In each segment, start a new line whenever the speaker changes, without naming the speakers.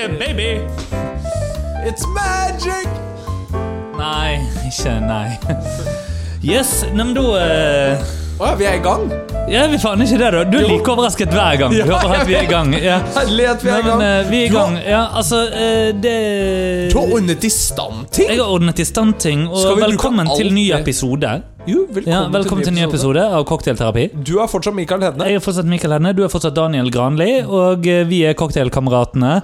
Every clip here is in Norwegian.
away. It's magic!
Nei, ikke nei. Yes, nei, men da eh,
Å ja, vi er i gang?
Ja, vi faen ikke det, da. Du er like overrasket hver gang. Du hører at vi er i gang. Ja.
Herlig at vi
Nei,
er i
men
gang.
eh, vi er i gang. Ja, altså, eh, det
Du har ordnet i stand ting!
Jeg har ordnet i stand ting,
Skal
og
vi bruke
velkommen
alt
til ny
det?
episode.
Jo,
Ja, velkommen til ny episode Eh, av Cocktailterapi.
Du er fortsatt Mikael Hedne.
Jeg er fortsatt Mikael Henne, du er fortsatt Daniel Granli, og eh, vi er Cocktailkameratene.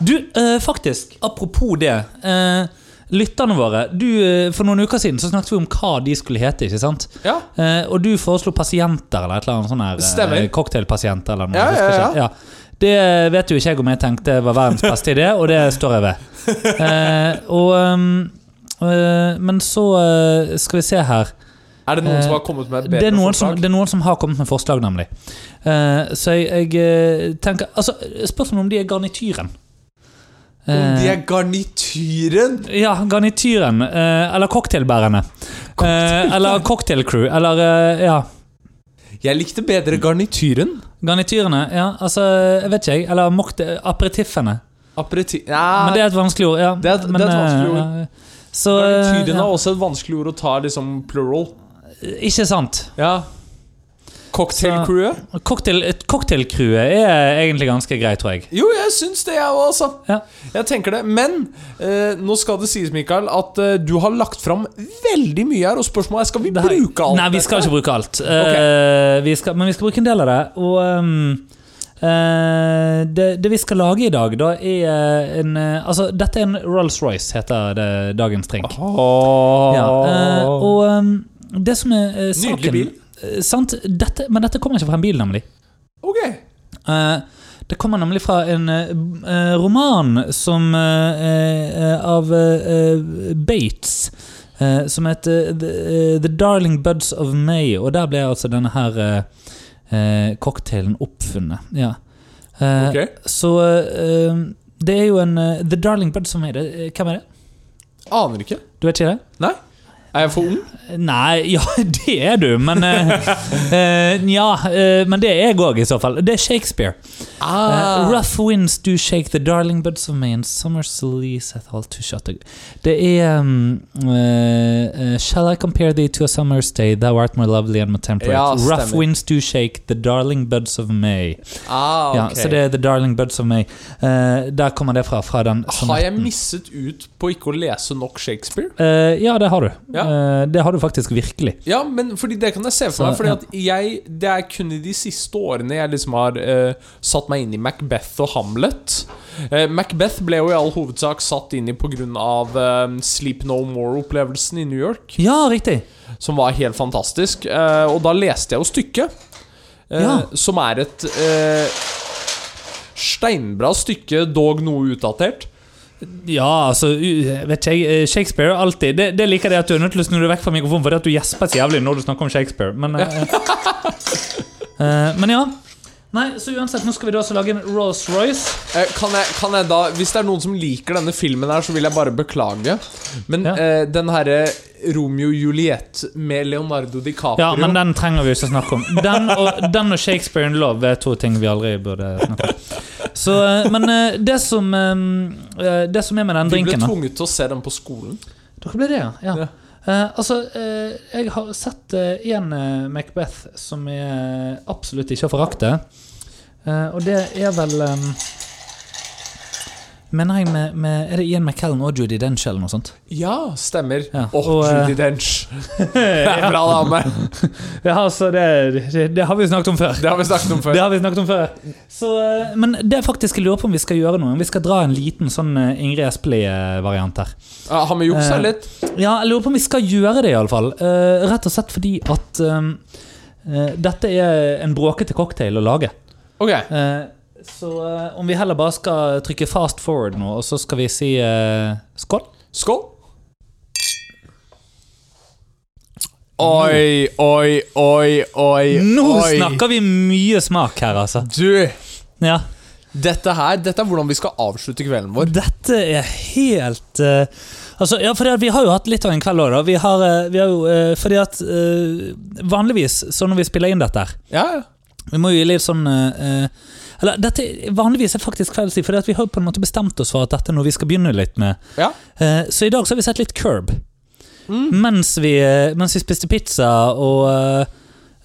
Du, eh, faktisk, apropos det. eh, lytterne våre, du, eh, for noen uker siden så snakket vi om hva de skulle hete, ikke sant?
Ja.
Eh, og du foreslo pasienter eller et eller annet sånn her. eh,
Stemmer.
Cocktailpasienter eller noe.
Ja,
jeg husker
ja,
ikke. ja. Det vet jo ikke jeg om jeg tenkte var verdens beste idé, og det står jeg ved. Eh, og, ehm, eh, men så eh, skal vi se her.
Er det noen
Eh,
som har kommet med et
Det er,
bedre
noen som,
forslag?
det er noen som har kommet med forslag, nemlig. Eh, så jeg, jeg eh, tenker altså, Spørsmålet om de er garnityren.
Om de
Eh,
er garnityren!
ja, garnityren. eh, eller cocktailbærerne. Eh, eller cocktailcrew. Eller eh, ja.
Jeg likte bedre garnityren.
Garnityrene, ja. Altså, jeg vet ikke, jeg. Eller mokte, aperitiffene.
Aperiti...
Men det
Ja,
er et vanskelig ord. ja.
Det er et-
Men,
det er et vanskelig
eh,
ord.
ja. Så, eh,
garnityren er også et vanskelig ord å ta liksom plural.
ja. eh, Ikke sant.
Ja. Cocktailcrewet?
Cocktail, et Cocktailcrewet er egentlig ganske greit, tror jeg.
Jo, jeg syns det, jeg òg, altså.
Ja.
Jeg tenker det. Men eh, nå skal det sies, Mikael, at eh, du har lagt fram veldig mye her, og spørsmålet er skal vi
Det her-
bruke alt
Nei, vi skal
dette?
ikke bruke alt. Eh, vi skal, men vi skal bruke en del av det. Og ehm, eh, det, det vi skal lage i dag, da er eh, en eh, Altså, dette er en Rolls-Royce, heter det, dagens drink.
Ah. Åh.
Ja, eh, og ehm, det som er eh, saken
Nydelig bil.
eh, sant? Dette, men dette kommer ikke fra en bil, nemlig.
Ok.
Eh, det kommer nemlig fra en eh, b- eh, roman som, eh, eh, av eh, eh, Bates. eh, som heter The, eh, The Darling Buds of May, og der ble altså denne her eh, eh, cocktailen oppfunnet. Ja. Eh,
ok
Så eh, det er jo en eh, The Darling Buds of May, det, eh, hvem er det?
Aner ikke.
Du vet ikke det?
Nei? Er jeg for ung?
Eh, Nei, ja, det er du, men eh, eh, Nja, eh, men det er jeg òg, i så fall. Det er Shakespeare.
Ah. Uh,
Eh, rough winds do shake the darling buds of May and summer leaves at all to shut the Det er um, eh, eh, Shall I compare thee to a summer's day, thou art more lovely and more temperate.
Ja,
rough
stemmer.
winds do shake the darling buds of May.
Ah,
Ja,
ok.
så det er the darling buds of May. Eh, der kommer det fra. fra den
Har jeg
sonetten.
misset ut på ikke å lese nok Shakespeare?
Eh, ja, det har du.
Ja.
Eh, det har du faktisk virkelig.
Ja, men fordi det kan jeg se for meg.
Så,
Fordi at jeg, Det er kun i de siste årene jeg liksom har eh, satt meg inn i Macbeth og Hamlet. Eh, Macbeth ble jo i all hovedsak satt inn i pga. Uh, Sleep No More-opplevelsen i New York,
Ja, riktig!
som var helt fantastisk. Eh, og da leste jeg jo stykket, eh,
Ja.
som er et eh, steinbra stykke, dog noe utdatert.
Ja, altså, u- vet ikke jeg, eh, Shakespeare er alltid det, det liker jeg at du er nødt til å snu deg vekk fra mikrofonen, fordi at du gjesper så jævlig når du snakker om Shakespeare. Men, eh, eh, men ja. Nei, så uansett, nå skal vi da også lage en Rolls-Royce.
Eh, Kan jeg, kan jeg da, Hvis det er noen som liker denne filmen, her så vil jeg bare beklage. Men
Ja.
eh, den herre Romeo og Juliette med Leonardo DiCaprio
Ja, men den trenger vi ikke å snakke om. Den og, den og Shakespeare in love er to ting vi aldri burde snakke om. Så, eh, men eh, det som eh, eh, Det som er med den
Vi ble
drinken da-
tvunget til å se den på skolen.
Dere ble det, ja? ja.
Ja.
Eh, altså, eh, jeg har sett én Macbeth som jeg absolutt ikke har foraktet. Eh, og det er vel em, Mener jeg med, med Er det Ian McKellen og Judy Dench eller noe sånt?
Ja, stemmer. Åh,
Ja, og, eh,
Judy Dench. Det er en bra dame.
Ja, altså, det, det, det har vi jo snakket om før.
Det har vi snakket om
Det
før.
har vi snakket om før. Så, eh, men det er faktisk jeg lurer på om vi skal gjøre noe. Om Vi skal dra en liten sånn eh, Ingrid Espelid-variant her.
Ja, har vi juksa
Eh,
litt?
Ja, jeg lurer på om vi skal gjøre det, iallfall. Uh, rett og slett fordi at ehm, eh, dette er en bråkete cocktail å lage.
Ok.
Eh, så eh, om vi heller bare skal trykke fast forward nå, og så skal vi si eh, skål?
Skål. Oi, oi, oi, oi.
Mm. Nå
oi.
snakker vi mye smak her, altså.
Du,
Ja.
dette her Dette er hvordan vi skal avslutte kvelden vår.
Dette er helt eh, Altså, ja, for Vi har jo hatt litt av en kveld òg, da. Vi har, eh, vi har jo, eh, fordi at eh, Vanligvis, så når vi spiller inn dette her
Ja, ja.
Vi må jo gi litt sånn eh, eh, Eller, dette vanligvis er faktisk feil å si, for vi har på en måte bestemt oss for at dette er noe vi skal begynne litt med.
Ja.
Eh, Så i dag så har vi sett litt Curb.
Mm.
Mens vi, eh, mens vi spiste pizza og eh,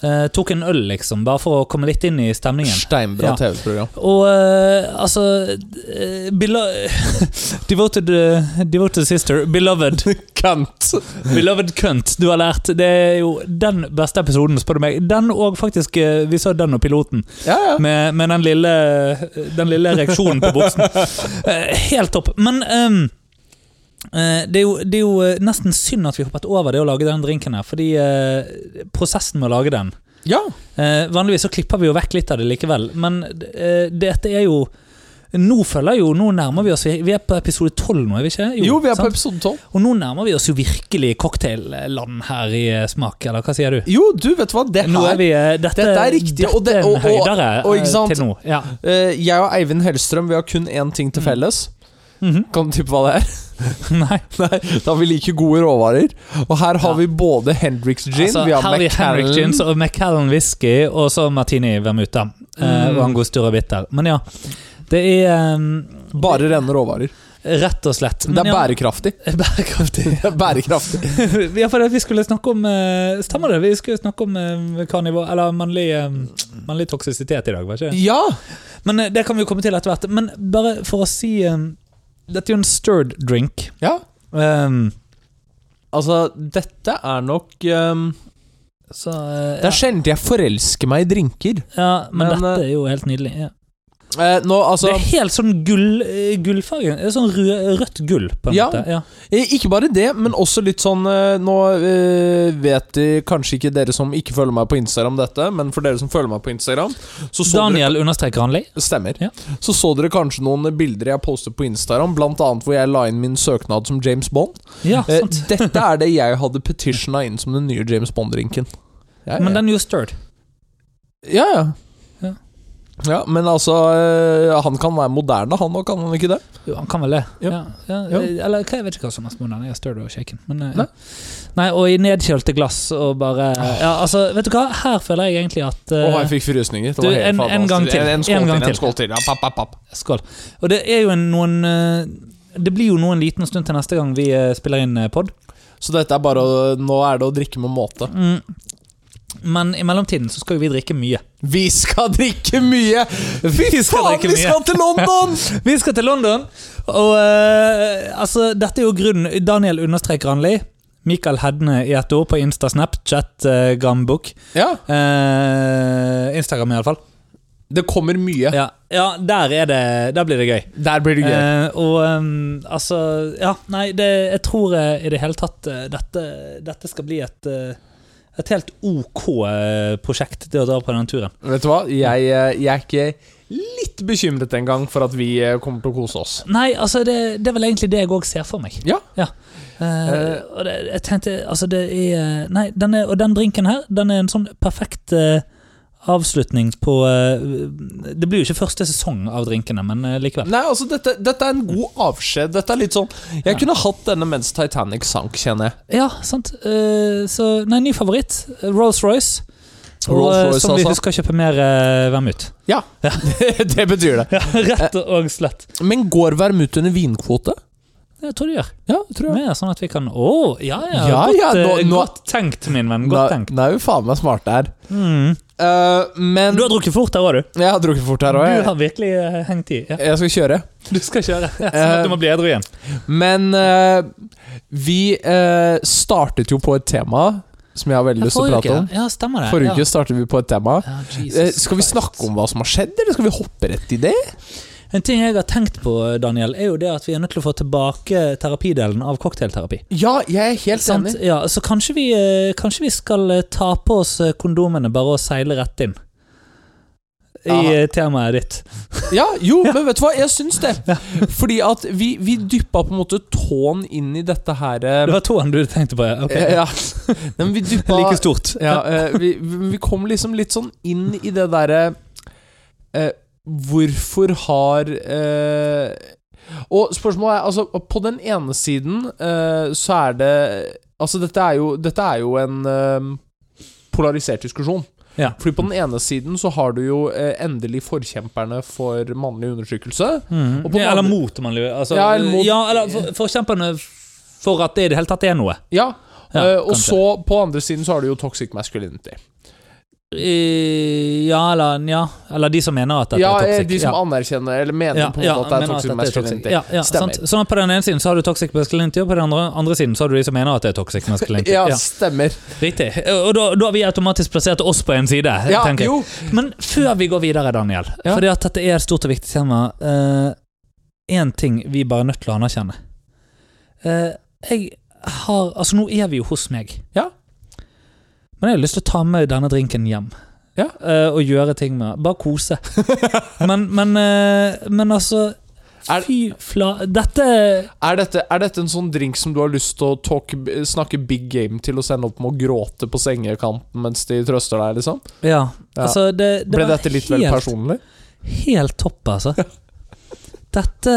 eh, tok en øl, liksom, bare for å komme litt inn i stemningen.
Steinbra
Ja.
TV-program.
Og eh, altså eh, belo- devoted, eh, devoted sister, beloved
Kant.
Beloved cunt, du har lært. Det er jo den beste episoden, spør du meg. Den og faktisk eh, Vi så den og piloten,
Ja, ja.
med, med den lille Den lille ereksjonen på buksen. Eh, Helt topp. Men ehm, eh, det, er jo, det er jo eh, nesten synd at vi hoppet over det å lage den drinken her, fordi eh, prosessen med å lage den
ja.
Eh, vanligvis så klipper vi jo vekk litt av det likevel, men eh, dette er jo Nå følger jo, nå nærmer vi oss Vi vi er på episode 12 nå, er vi ikke?
Jo, vi er på
sant?
episode 12.
Og nå nærmer vi oss jo virkelig cocktailland her i eh, smak, eller hva sier du?
Jo, du, vet du hva? Det
Nå
her
er vi, eh, dette,
dette er riktig,
dette
og det-
er en
og- og-
høydere
og
eh,
ikke sant?
til nå. Ja.
Eh, Jeg og Eivind Hellstrøm Vi har kun én ting til felles.
Mhm.
Kan du tippe hva det er?
Nei,
Nei, Da vi liker gode råvarer. Og her har
Ja.
vi både Hendrix gin,
altså,
vi har
her er vi Henrik
McCarran
Gins og McCallan whisky, og så Martini Vermuta. eh,
Mm.
Og Angostura Bitter. Men ja, det er eh,
Bare rene råvarer.
rett og slett
Det
Men
er
ja,
bærekraftig.
bærekraftig.
Det er bærekraftig.
ja, for at vi skulle snakke om eh, Stemmer det? Vi skulle snakke om eh, hva nivå Eller mannlig, eh, mannlig toksisitet i dag, var ikke det?
Ja!
Men eh, det kan vi jo komme til etter hvert. Men bare for å si eh, Dette er jo en stirred drink.
ja.
Eh,
Altså, dette er nok ehm,
så eh,
Det er sjelden jeg forelsker meg i drinker.
ja, ja, men,
men,
dette
eh,
er jo helt nydelig. Ja.
Eh, nå,
Det
altså
er helt sånn gull, eh, gullfarge. Det er Sånn rød, rødt gull, på en
Ja.
måte. Ja.
Eh, Ikke bare det, men også litt sånn eh, Nå eh, vet de, kanskje ikke dere som ikke følger meg på Instagram dette, men for dere som følger meg på Instagram så så dere,
Daniel understreker Hanli.
Stemmer.
Ja.
Så så dere kanskje noen bilder jeg postet på Instagram, blant annet hvor jeg la inn min søknad som James Bond.
Ja,
Eh,
sant.
dette er det jeg hadde petitiona inn som den nye James Bond-drinken. Ja,
Men den er jo stirred.
ja, ja.
Ja.
Ja, men altså eh, Han kan være moderne, han òg, kan han ikke det?
Jo, han kan vel det.
Ja.
Ja. Ja,
Ja.
Eller hva, jeg vet ikke hva som er moderne. Jeg stør det og shaken. Men, eh,
Nei. Ah.
Nei, og i nedkjølte glass og bare Ja, altså, vet du hva? Her føler jeg egentlig at
Å,
eh,
jeg fikk frysninger. Det
du,
var helt
en- en
fantastisk.
gang til.
En, en skål
En gang
til.
til.
En skål til. Ja, papp, papp, papp.
Skål. Og det er jo en, noen eh, Det blir jo nå en liten stund til neste gang vi eh, spiller inn eh, pod.
Så dette er bare å, nå er det å drikke med måte.
Mm. Men i mellomtiden så skal jo vi drikke mye.
Vi skal drikke mye! Fy
Vi skal
faen,
drikke
vi
mye.
skal til London!
Vi skal til London, og eh, altså, dette er jo grunnen. Daniel understreker Granli. Michael Hedne i ett ord på Instasnap, chat, uh, Grambok.
ja,
Eh, Instagram, iallfall.
det kommer mye.
Ja, ja der, er det, der blir det gøy.
Der blir det gøy.
Eh, og ehm, altså Ja, nei, det, jeg tror eh, i det hele tatt eh, dette, dette skal bli et eh, et helt OK eh, prosjekt, det å dra på den turen.
Vet du hva, jeg, eh, jeg er ikke litt bekymret engang for at vi eh, kommer til å kose oss.
Nei, altså, det, det er vel egentlig det jeg òg ser for meg.
Ja.
Eh, og det, jeg tenkte Altså, det er eh, Nei, den er, og den drinken her, den er en sånn perfekt eh, avslutning på eh, Det blir jo ikke første sesong av drinkene, men eh, likevel.
Nei, altså, dette, dette er en god avskjed. Dette er litt sånn Jeg
Ja.
kunne hatt denne mens Titanic sank, kjenner jeg.
Ja, sant. Eh, så Nei, ny favoritt. Rolls-Royce. Og, eh,
Rolls-Royce,
som vi
altså.
husker kjøpe mer uh, vermut.
Ja, det betyr det.
Ja, rett og slett.
Men går Vermut under vinkvote?
Jeg tror du gjør.
Ja, det tror jeg.
Mer sånn at vi kan Å, ja ja.
Ja,
godt,
ja, nå-
eh,
nå-
godt tenkt, min venn. Godt tenkt.
Nå er vi faen meg smarte her.
Mm.
Eh, men
Du har drukket fort her òg, du.
Jeg har drukket fort her
Du
òg, jeg.
har virkelig eh, hengt i. Ja.
Jeg skal kjøre.
Du skal kjøre. Ja, sånn at du må bli edru igjen.
Men eh, vi eh, startet jo på et tema som jeg har veldig lyst til å prate om.
Ja, stemmer det.
Forrige
ja.
uke startet vi på et tema.
Ja,
Eh,
Jesus
skal vi
Christ.
snakke om hva som har skjedd, eller skal vi hoppe rett i det?
En ting jeg har tenkt på, Daniel, er jo det at vi er nødt til å få tilbake terapidelen av cocktailterapi.
Ja, jeg er helt
Sant?
enig.
Ja, så kanskje vi, eh, kanskje vi skal eh, ta på oss eh, kondomene bare og seile rett inn i
Aha.
eh, temaet ditt.
Ja, jo, men vet du hva, jeg syns det. Fordi at vi, vi dyppa på en måte tåen inn i dette her eh,
Det var toeren du tenkte på, ja. Ok.
eh, ja. Nei, men vi dyppa
Like stort.
ja, eh, vi, vi kom liksom litt sånn inn i det derre eh, Hvorfor har eh, Og spørsmålet er altså På den ene siden eh, så er det Altså, dette er jo, dette er jo en eh, polarisert diskusjon.
Ja.
Fordi på den ene siden så har du jo eh, endelig forkjemperne for mannlig undertrykkelse.
Mhm.
Og på den
ja, eller
andre-
mot, man lurer. Altså,
Ja, eller mot-
ja, eller for- forkjemperne for at det i det hele tatt er noe.
Ja.
Ja,
eh, og
kanskje.
så på andre siden så har du jo toxic masculinity.
Eh, Ja, eller nja. Eller de som mener at dette
ja,
er
eh,
toxic.
de som
ja.
anerkjenner eller mener på en måte at det er
mener
toxic
dette er
masculinity.
Ja, ja,
Stemmer.
sant. Sånn at på den ene siden så har du toxic masculinity, og på den andre, andre siden så har du de som mener at det er toxic masculinity.
Ja,
Ja,
stemmer.
Riktig. Og da, da har vi automatisk plassert oss på en side,
Ja,
tenker jeg.
jo.
Men før vi går videre, Daniel,
Ja.
fordi at dette er et stort og viktig tema Én ting vi bare er nødt til å anerkjenne. Eh, jeg har Altså, nå er vi jo hos meg.
Ja.
Men jeg har lyst til å ta med denne drinken hjem.
Ja.
Eh, og gjøre ting med Bare kose. men, men, eh, men altså
Er-
Fy fla... Dette
Er dette, er dette en sånn drink som du har lyst til å talk, snakke big game til og sende opp med å gråte på sengekanten mens de trøster deg, liksom?
Ja.
Ja.
Altså, det, det
Ble
var
dette litt vel
helt-
personlig?
Helt topp, altså. Dette,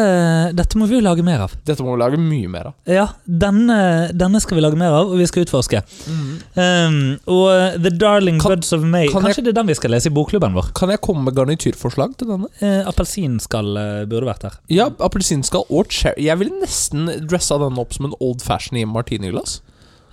dette må vi jo lage mer av.
Dette må vi lage mye mer av.
Ja, denne, denne skal vi lage mer av, og vi skal utforske. Um, og uh, The Darling
Kan-
Buds of May
kan
Kanskje det er den vi skal lese i bokklubben vår?
Kan jeg komme med garnityrforslag til denne?
Uh, Appelsinskall eh, burde vært der.
Ja, appelsinskall og cherry. Jeg ville nesten dressa denne opp som en old fashion i martiniglass.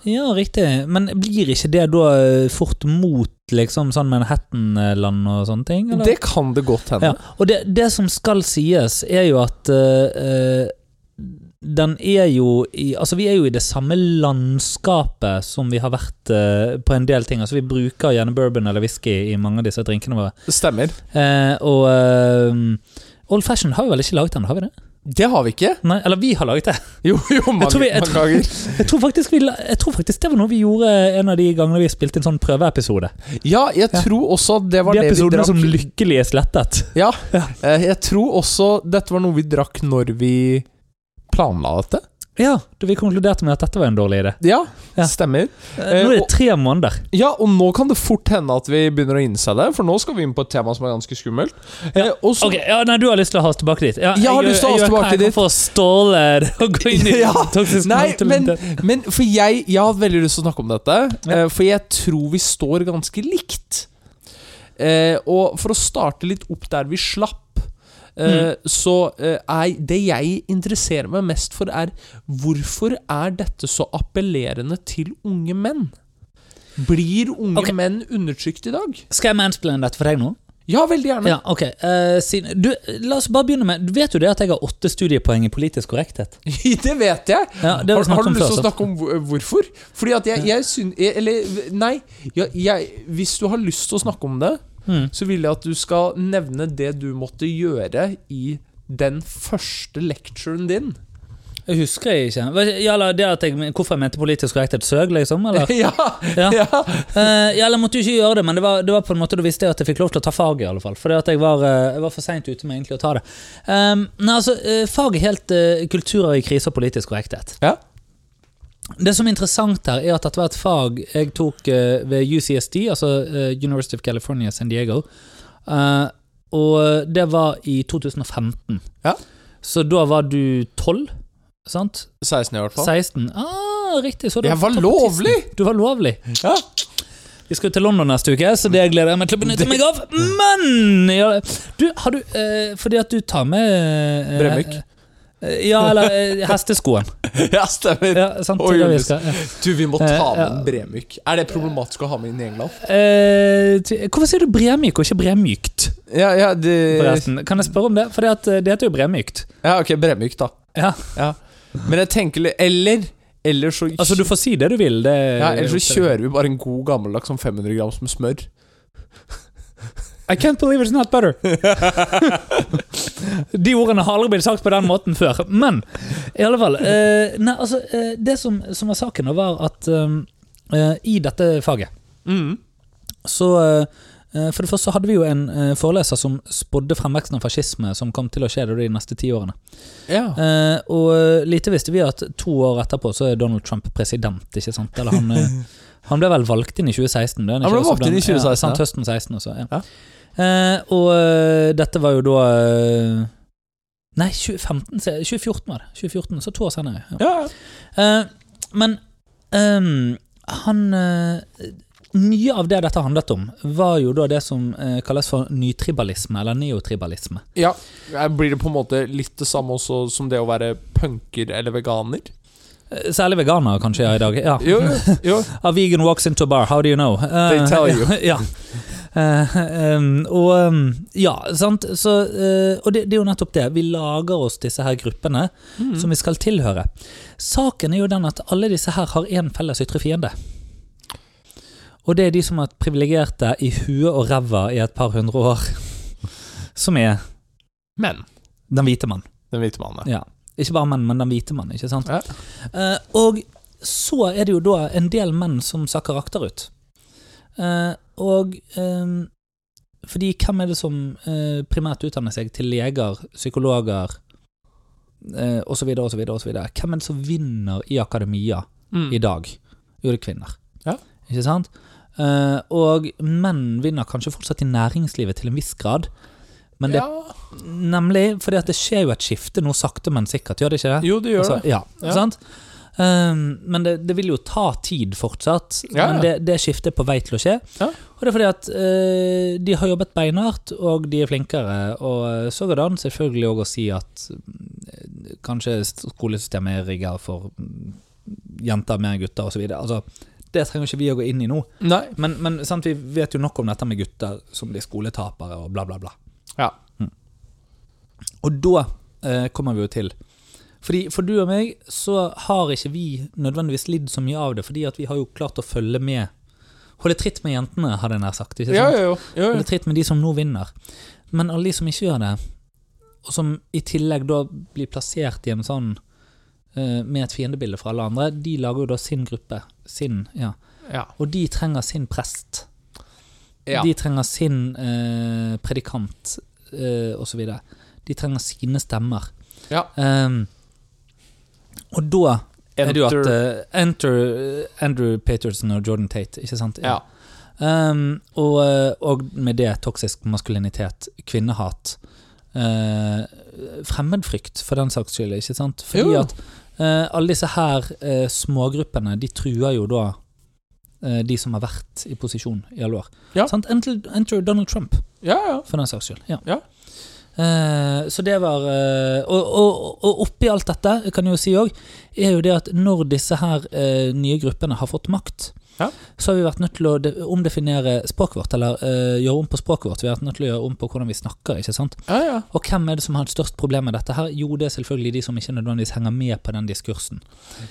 Ja, riktig. Men blir ikke det da eh, fort mot liksom sånn Manhattan-land og sånne ting? eller?
Det kan det godt hende.
Ja, og det, det som skal sies, er jo at eh, eh, den er jo i Altså, vi er jo i det samme landskapet som vi har vært eh, på en del ting. Altså, vi bruker gjerne bourbon eller whisky i mange av disse drinkene våre.
Stemmer.
Eh, og eh, Old Fashion har vi vel ikke laget den, har vi det?
Det har vi ikke.
Nei, eller vi har laget det.
Jo, jo, mange,
tror vi- jeg
mange
tror-
ganger.
Jeg tror faktisk, vi, la- jeg tror faktisk det var noe vi gjorde eh, en av de gangene vi spilte en sånn prøveepisode.
Ja, jeg
Ja.
tror også det var
De
det vi
episodene
drakk
som lykkelig er slettet.
Ja. eh, Jeg tror også dette var noe vi drakk når vi planla dette.
Ja, da vi konkluderte med at dette var en dårlig idé.
Ja,
Ja.
stemmer.
Eh, Nå er
og-
det tre måneder.
Ja, og nå kan det fort hende at vi begynner å innse det, for nå skal vi inn på et tema som er ganske skummelt. Eh, og så-
Ok, ja, nei, Du har lyst til å ha oss tilbake dit? Ja,
Jeg har lyst til å ha oss
gjør hva
tilbake
jeg kan
dit.
For å ståle det og gå inn i
Ja,
toksisk
Nei, men,
maskulinitet.
men for jeg, jeg har hatt veldig lyst til å snakke om dette,
Ja.
eh, for jeg tror vi står ganske likt. Eh, og for å starte litt opp der vi slapp, eh, så eh, er det jeg interesserer meg mest for, er hvorfor er dette så appellerende til unge menn? Blir unge
Ok.
menn undertrykt i dag?
Skal jeg mansplaine dette for deg nå?
Ja, veldig gjerne.
Ja, ok Eh, siden, du, La oss bare begynne med Vet du det at jeg har åtte studiepoeng i politisk korrekthet?
det vet jeg.
Ja, det
Har,
vi
har
snakket
du
om
lyst til å
før, så.
snakke om hvor- hvorfor? Fordi at jeg, jeg syns Eller, nei. Jeg, jeg, hvis du har lyst til å snakke om det,
Mm.
så vil jeg at du skal nevne det du måtte gjøre i den første lecturen din.
Jeg husker jeg ikke. Hva- Ja, eller det at jeg, hvorfor jeg mente politisk korrekthet søg, liksom? Eller?
Ja,
Ja.
ja.
Eh, ja, eller jeg måtte jo ikke gjøre det, men det var, det var på en måte da visste jeg at jeg fikk lov til å ta faget, i alle fall. Fordi at jeg var, eh, jeg var for seint ute med egentlig å ta det. Um, nei, altså, eh, Faget er helt eh, kulturer i krise og politisk korrekthet.
Ja.
Det som er interessant her, er at dette var et fag jeg tok eh, ved UCSD, altså eh, University of California, San Diego. Eh, og det var i 2015.
Ja.
Så da var du 12, sant?
16 i hvert fall.
16? Ah, riktig. Så du
Jeg var
topp på
lovlig!
tissen. Du var lovlig.
Ja.
Vi skal jo til London neste uke, så det gleder jeg meg til å benytte meg av. Men ja, Du, har du eh, Fordi at du tar med eh,
Bremyk.
eh, ja, eller eh, hesteskoen.
ja, stemmer.
Ja, sant,
Oi,
det er det
Jonas.
vi skal, ja.
Du, vi må ta
Eh,
med
ja.
en Bremyk. Er det problematisk å ha med inn i England?
Eh, ty- hvorfor sier du bremyk og ikke bremykt?
Ja, ja, det
Forresten, Kan jeg spørre om det? For det heter jo bremykt.
Ja, ok, Bremyk, da.
Ja.
Men jeg tenker litt Eller Eller så
Altså, du får si det du vil. Det,
Ja, Eller så kjører vi bare en god gammeldags sånn 500 grams med smør.
I can't believe it's not butter. De ordene har aldri blitt sagt på den måten før. Men i alle fall eh, Nei, altså, eh, det som, som var saken, da, var at eh, eh, i dette faget
Mm.
så eh, For det første så hadde vi jo en eh, foreleser som spådde fremveksten av fascisme som kom til å skje da de neste ti årene.
Ja.
Eh, og lite visste vi at to år etterpå så er Donald Trump president, ikke sant? Eller han, eh, han ble vel valgt inn i 2016? ble
Han ble
ikke? Altså,
valgt inn i 2016,
Ja, sant,
ja.
høsten 16 også, ja.
Ja.
Eh, og eh, dette var jo da eh, Nei, 2015, se- 2014 var det. 2014, Så to år senere. ja.
ja.
Eh, men ehm, han eh, Mye av det dette handlet om, var jo da det som eh, kalles for nytribalisme, eller neotribalisme.
Ja, eh, Blir det på en måte litt det samme også som det å være punker eller veganer?
Eh, Særlig veganere, kanskje, ja, i dag. Ja.
Jo, jo.
A vegan walks into a bar, how do you know? Eh,
They tell you.
ja. Eh, em, og em, ja, sant. Så, eh, og det, det er jo nettopp det. Vi lager oss disse her gruppene
Mm.
som vi skal tilhøre. Saken er jo den at alle disse her har én felles ytre fiende. Og det er de som har vært privilegerte i huet og ræva i et par hundre år. Som er
Men
den hvite mann.
den hvite mannen.
Ja. Ikke bare menn, men den hvite mann. ikke sant?
Ja.
Eh, og så er det jo da en del menn som sakker akterut. Eh, og eh, fordi hvem er det som eh, primært utdanner seg til leger, psykologer eh, osv., osv., osv.? Hvem er det som vinner i akademia
Mm.
i dag? Jo, det er kvinner.
Ja.
Ikke sant? Eh, og menn vinner kanskje fortsatt i næringslivet til en viss grad, men det
ja.
Nemlig, fordi at det skjer jo et skifte nå sakte, men sikkert, gjør det ikke det?
Jo, det gjør det.
Altså, Ja,
Ja.
sant? Um, men det, det vil jo ta tid fortsatt.
Ja, ja.
Men det, det skiftet er på vei til å skje.
Ja.
Og det er fordi at eh, de har jobbet beinhardt, og de er flinkere. Og eh, sådan selvfølgelig òg å si at eh, kanskje skolesystemet er rigga for mm, jenter mer enn gutter osv. Altså, det trenger ikke vi å gå inn i nå.
Nei.
Men, men sant, vi vet jo nok om dette med gutter som blir skoletapere og bla, bla, bla.
Ja.
Og da eh, kommer vi jo til. Fordi, for du og meg så har ikke vi nødvendigvis lidd så mye av det, fordi at vi har jo klart å følge med Holde tritt med jentene, hadde jeg nær sagt. Ikke sant?
Ja, jo, jo. jo,
Holde
jo.
tritt med de som nå vinner. Men alle de som ikke gjør det, og som i tillegg da blir plassert i en sånn eh, med et fiendebilde fra alle andre, de lager jo da sin gruppe. Sin, ja.
Ja.
Og de trenger sin prest.
Ja.
De trenger sin eh, predikant, eh, osv. De trenger sine stemmer.
Ja.
Ehm, og da er det jo at
Enter.
eh, Enter eh, Andrew Peterson og Jordan Tate, ikke sant?
Ja.
Ehm, og, eh, og med det toksisk maskulinitet, kvinnehat, eh, fremmedfrykt for den saks skyld, ikke sant? Fordi
Jo.
at eh, alle disse her eh, smågruppene, de truer jo da eh, de som har vært i posisjon i alle år.
Ja.
Sant? Enter, enter Donald Trump
ja, ja.
for den saks skyld. Ja.
Ja.
Eh, så det var eh, og, og, og oppi alt dette, kan jeg jo si òg, er jo det at når disse her eh, nye gruppene har fått makt,
Ja.
så har vi vært nødt til å de omdefinere språket vårt, eller eh, gjøre om på språket vårt. Vi har vært nødt til å gjøre om på hvordan vi snakker, ikke sant.
ja, ja.
Og hvem er det som har et størst problem med dette her? Jo, det er selvfølgelig de som ikke nødvendigvis henger med på den diskursen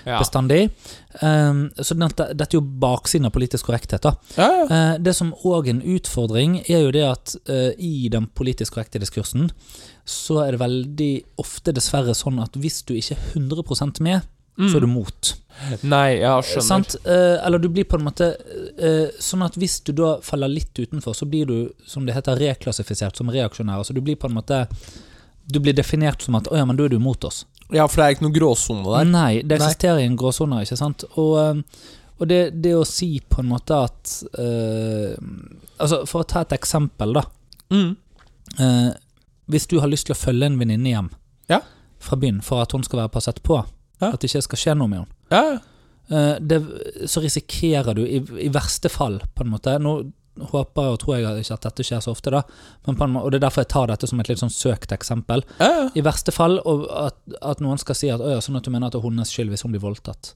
Ja.
bestandig. Eh, så dette, dette er jo baksiden av politisk korrekthet, da.
Ja, ja.
Eh, Det som òg er en utfordring, er jo det at eh, i den politisk korrekte diskursen, så er det veldig ofte dessverre sånn at hvis du ikke er 100 med, så er du mot.
Mm. Nei, jeg skjønner.
Sant? Eh, Eller du blir på en måte eh, Sånn at hvis du da faller litt utenfor, så blir du, som det heter, reklassifisert som reaksjonær. Altså du blir på en måte Du blir definert som at 'Å ja, men da er du mot oss'.
Ja, for det er ikke noen gråsone der.
Nei, det
Nei.
eksisterer en gråsone, ikke sant? Og, eh, og det, det å si på en måte at eh, Altså, for å ta et eksempel, da.
Mm.
Eh, hvis du har lyst til å følge en venninne hjem
Ja.
fra byen for at hun skal være passet på,
Ja.
at det ikke skal skje noe med henne,
Ja, ja.
eh, det, så risikerer du, i, i verste fall, på en måte Nå håper og tror jeg ikke at dette skjer så ofte, da, men på en måte, og det er derfor jeg tar dette som et litt sånn søkt eksempel.
ja, ja.
I verste fall og at, at noen skal si at «Å ja, sånn at du mener at det er hennes skyld hvis hun blir voldtatt.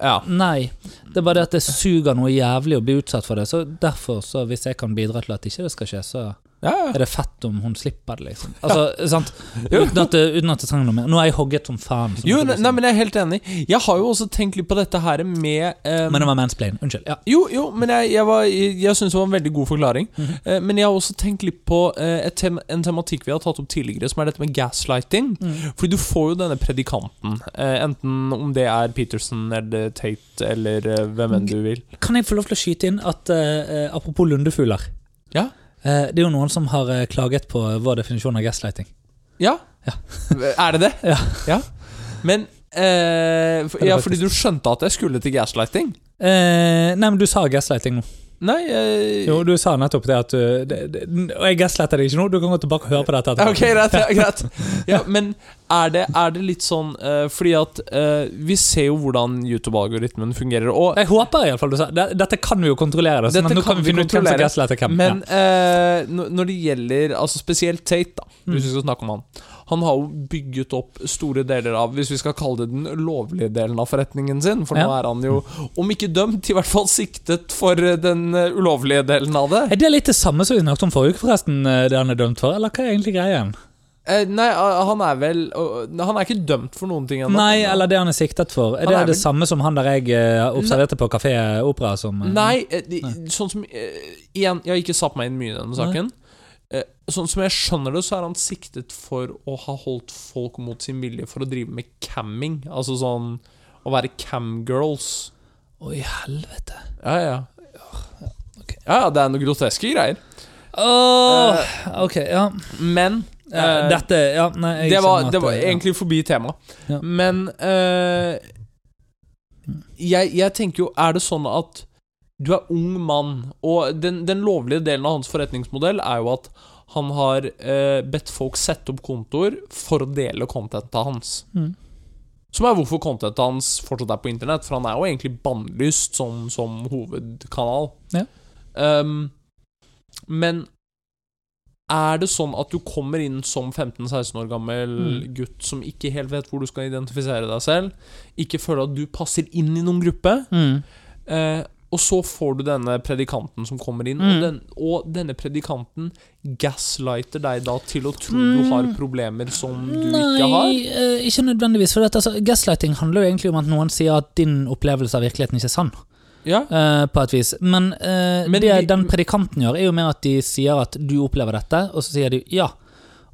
ja.
Nei, det er bare det at det suger noe jævlig å bli utsatt for det. Så derfor, så hvis jeg kan bidra til at ikke det skal skje, så
ja, ja.
er det fett om hun slipper det, liksom. Altså, sant? Uten at, det- uten at det trenger noe mer. Nå er jeg hogget som faen. som
Jo,
du
ne-
sier.
nei, men jeg er helt enig. Jeg har jo også tenkt litt på dette her med eh,
Men det var mansplain. Unnskyld. Ja.
Jo, jo, men jeg, jeg, var- jeg, jeg syns det var en veldig god forklaring.
Mhm.
Eh, men jeg har også tenkt litt på eh, et tem en tematikk vi har tatt opp tidligere, som er dette med gaslighting.
Mm.
Fordi du får jo denne predikanten, eh, enten om det er Peterson eller Tate eller eh, hvem enn du vil.
Kan jeg få lov til å skyte inn at eh, eh, apropos lundefugler
Ja?
eh, Det er jo noen som har eh, klaget på vår definisjon av gaslighting.
Ja? er det det?
Ja.
Men eh, for,
det
Ja,
faktisk.
fordi du skjønte at jeg skulle til gaslighting?
Eh, nei, men du sa gaslighting nå.
Nei eh,
Jo, du sa nettopp det at du det, det, Og jeg gaslighter deg ikke nå, du kan gå tilbake og høre på dette etterpå.
Ok, greit. Ja, greit. Ja, men er det, er det litt sånn eh, Fordi at eh, vi ser jo hvordan YouTube-algoritmen fungerer. Og,
Jeg håper i alle fall du sa det- Dette kan vi jo kontrollere, så
Dette
men nå
kan
kan vi
vi
finne ut hvem som
kontrollere,
gaslighter hvem.
men eh, når når det gjelder Altså spesielt Tate, da,
Mm.
hvis vi skal snakke om han. Han har jo bygget opp store deler av Hvis vi skal kalle det den lovlige delen av forretningen sin. For nå
Ja.
er han jo, om ikke dømt, i hvert fall siktet for eh, den eh, ulovlige delen av det.
ja. Er det litt det samme som vi snakket om forrige uke, forresten, eh, det han er dømt for? Eller hva er egentlig greien?
Eh, nei, eh, han er vel eh, Han er ikke dømt for noen ting ennå.
Nei, eller det han er siktet for. Er
Han
det
er
det
vel-
samme som han der jeg eh, observerte på Kafé Opera? Som, eh,
Nei, eh, de, sånn som eh, Igjen, jeg har ikke satt meg inn mye i denne
Nei.
saken. Eh, Sånn som jeg skjønner det, så er han siktet for å ha holdt folk mot sin vilje for å drive med camming. Altså sånn å være camgirls.
Å, i helvete.
Ja, ja.
ok.
Ja, ja, det er noen groteske greier.
Åh, ok, ja.
Men
Ja,
eh,
Eh, dette Ja, nei, jeg
det, var,
skjønner at
det var
ja.
egentlig forbi temaet.
Ja.
Men eh, jeg, jeg tenker jo Er det sånn at du er ung mann, og den, den lovlige delen av hans forretningsmodell er jo at han har eh, bedt folk sette opp kontoer for å dele contentet hans.
Mm.
Som er hvorfor contentet hans fortsatt er på internett, for han er jo egentlig bannlyst som, som hovedkanal.
Ja.
Ehm, men er det sånn at du kommer inn som 15-16 år gammel
Mm.
gutt som ikke helt vet hvor du skal identifisere deg selv, ikke føler at du passer inn i noen gruppe,
Mm.
eh, og så får du denne predikanten som kommer inn,
Mm.
og, den, og denne predikanten gaslighter deg da til å tro du har
Mm.
problemer som du ikke
Nei,
har?
eh, ikke nødvendigvis. For dette, altså, gaslighting handler jo egentlig om at noen sier at din opplevelse av virkeligheten ikke er sann.
Ja,
eh, på et vis. Men, eh,
Men
det
vi-
den predikanten gjør, er jo mer at de sier at du opplever dette, og så sier de ja.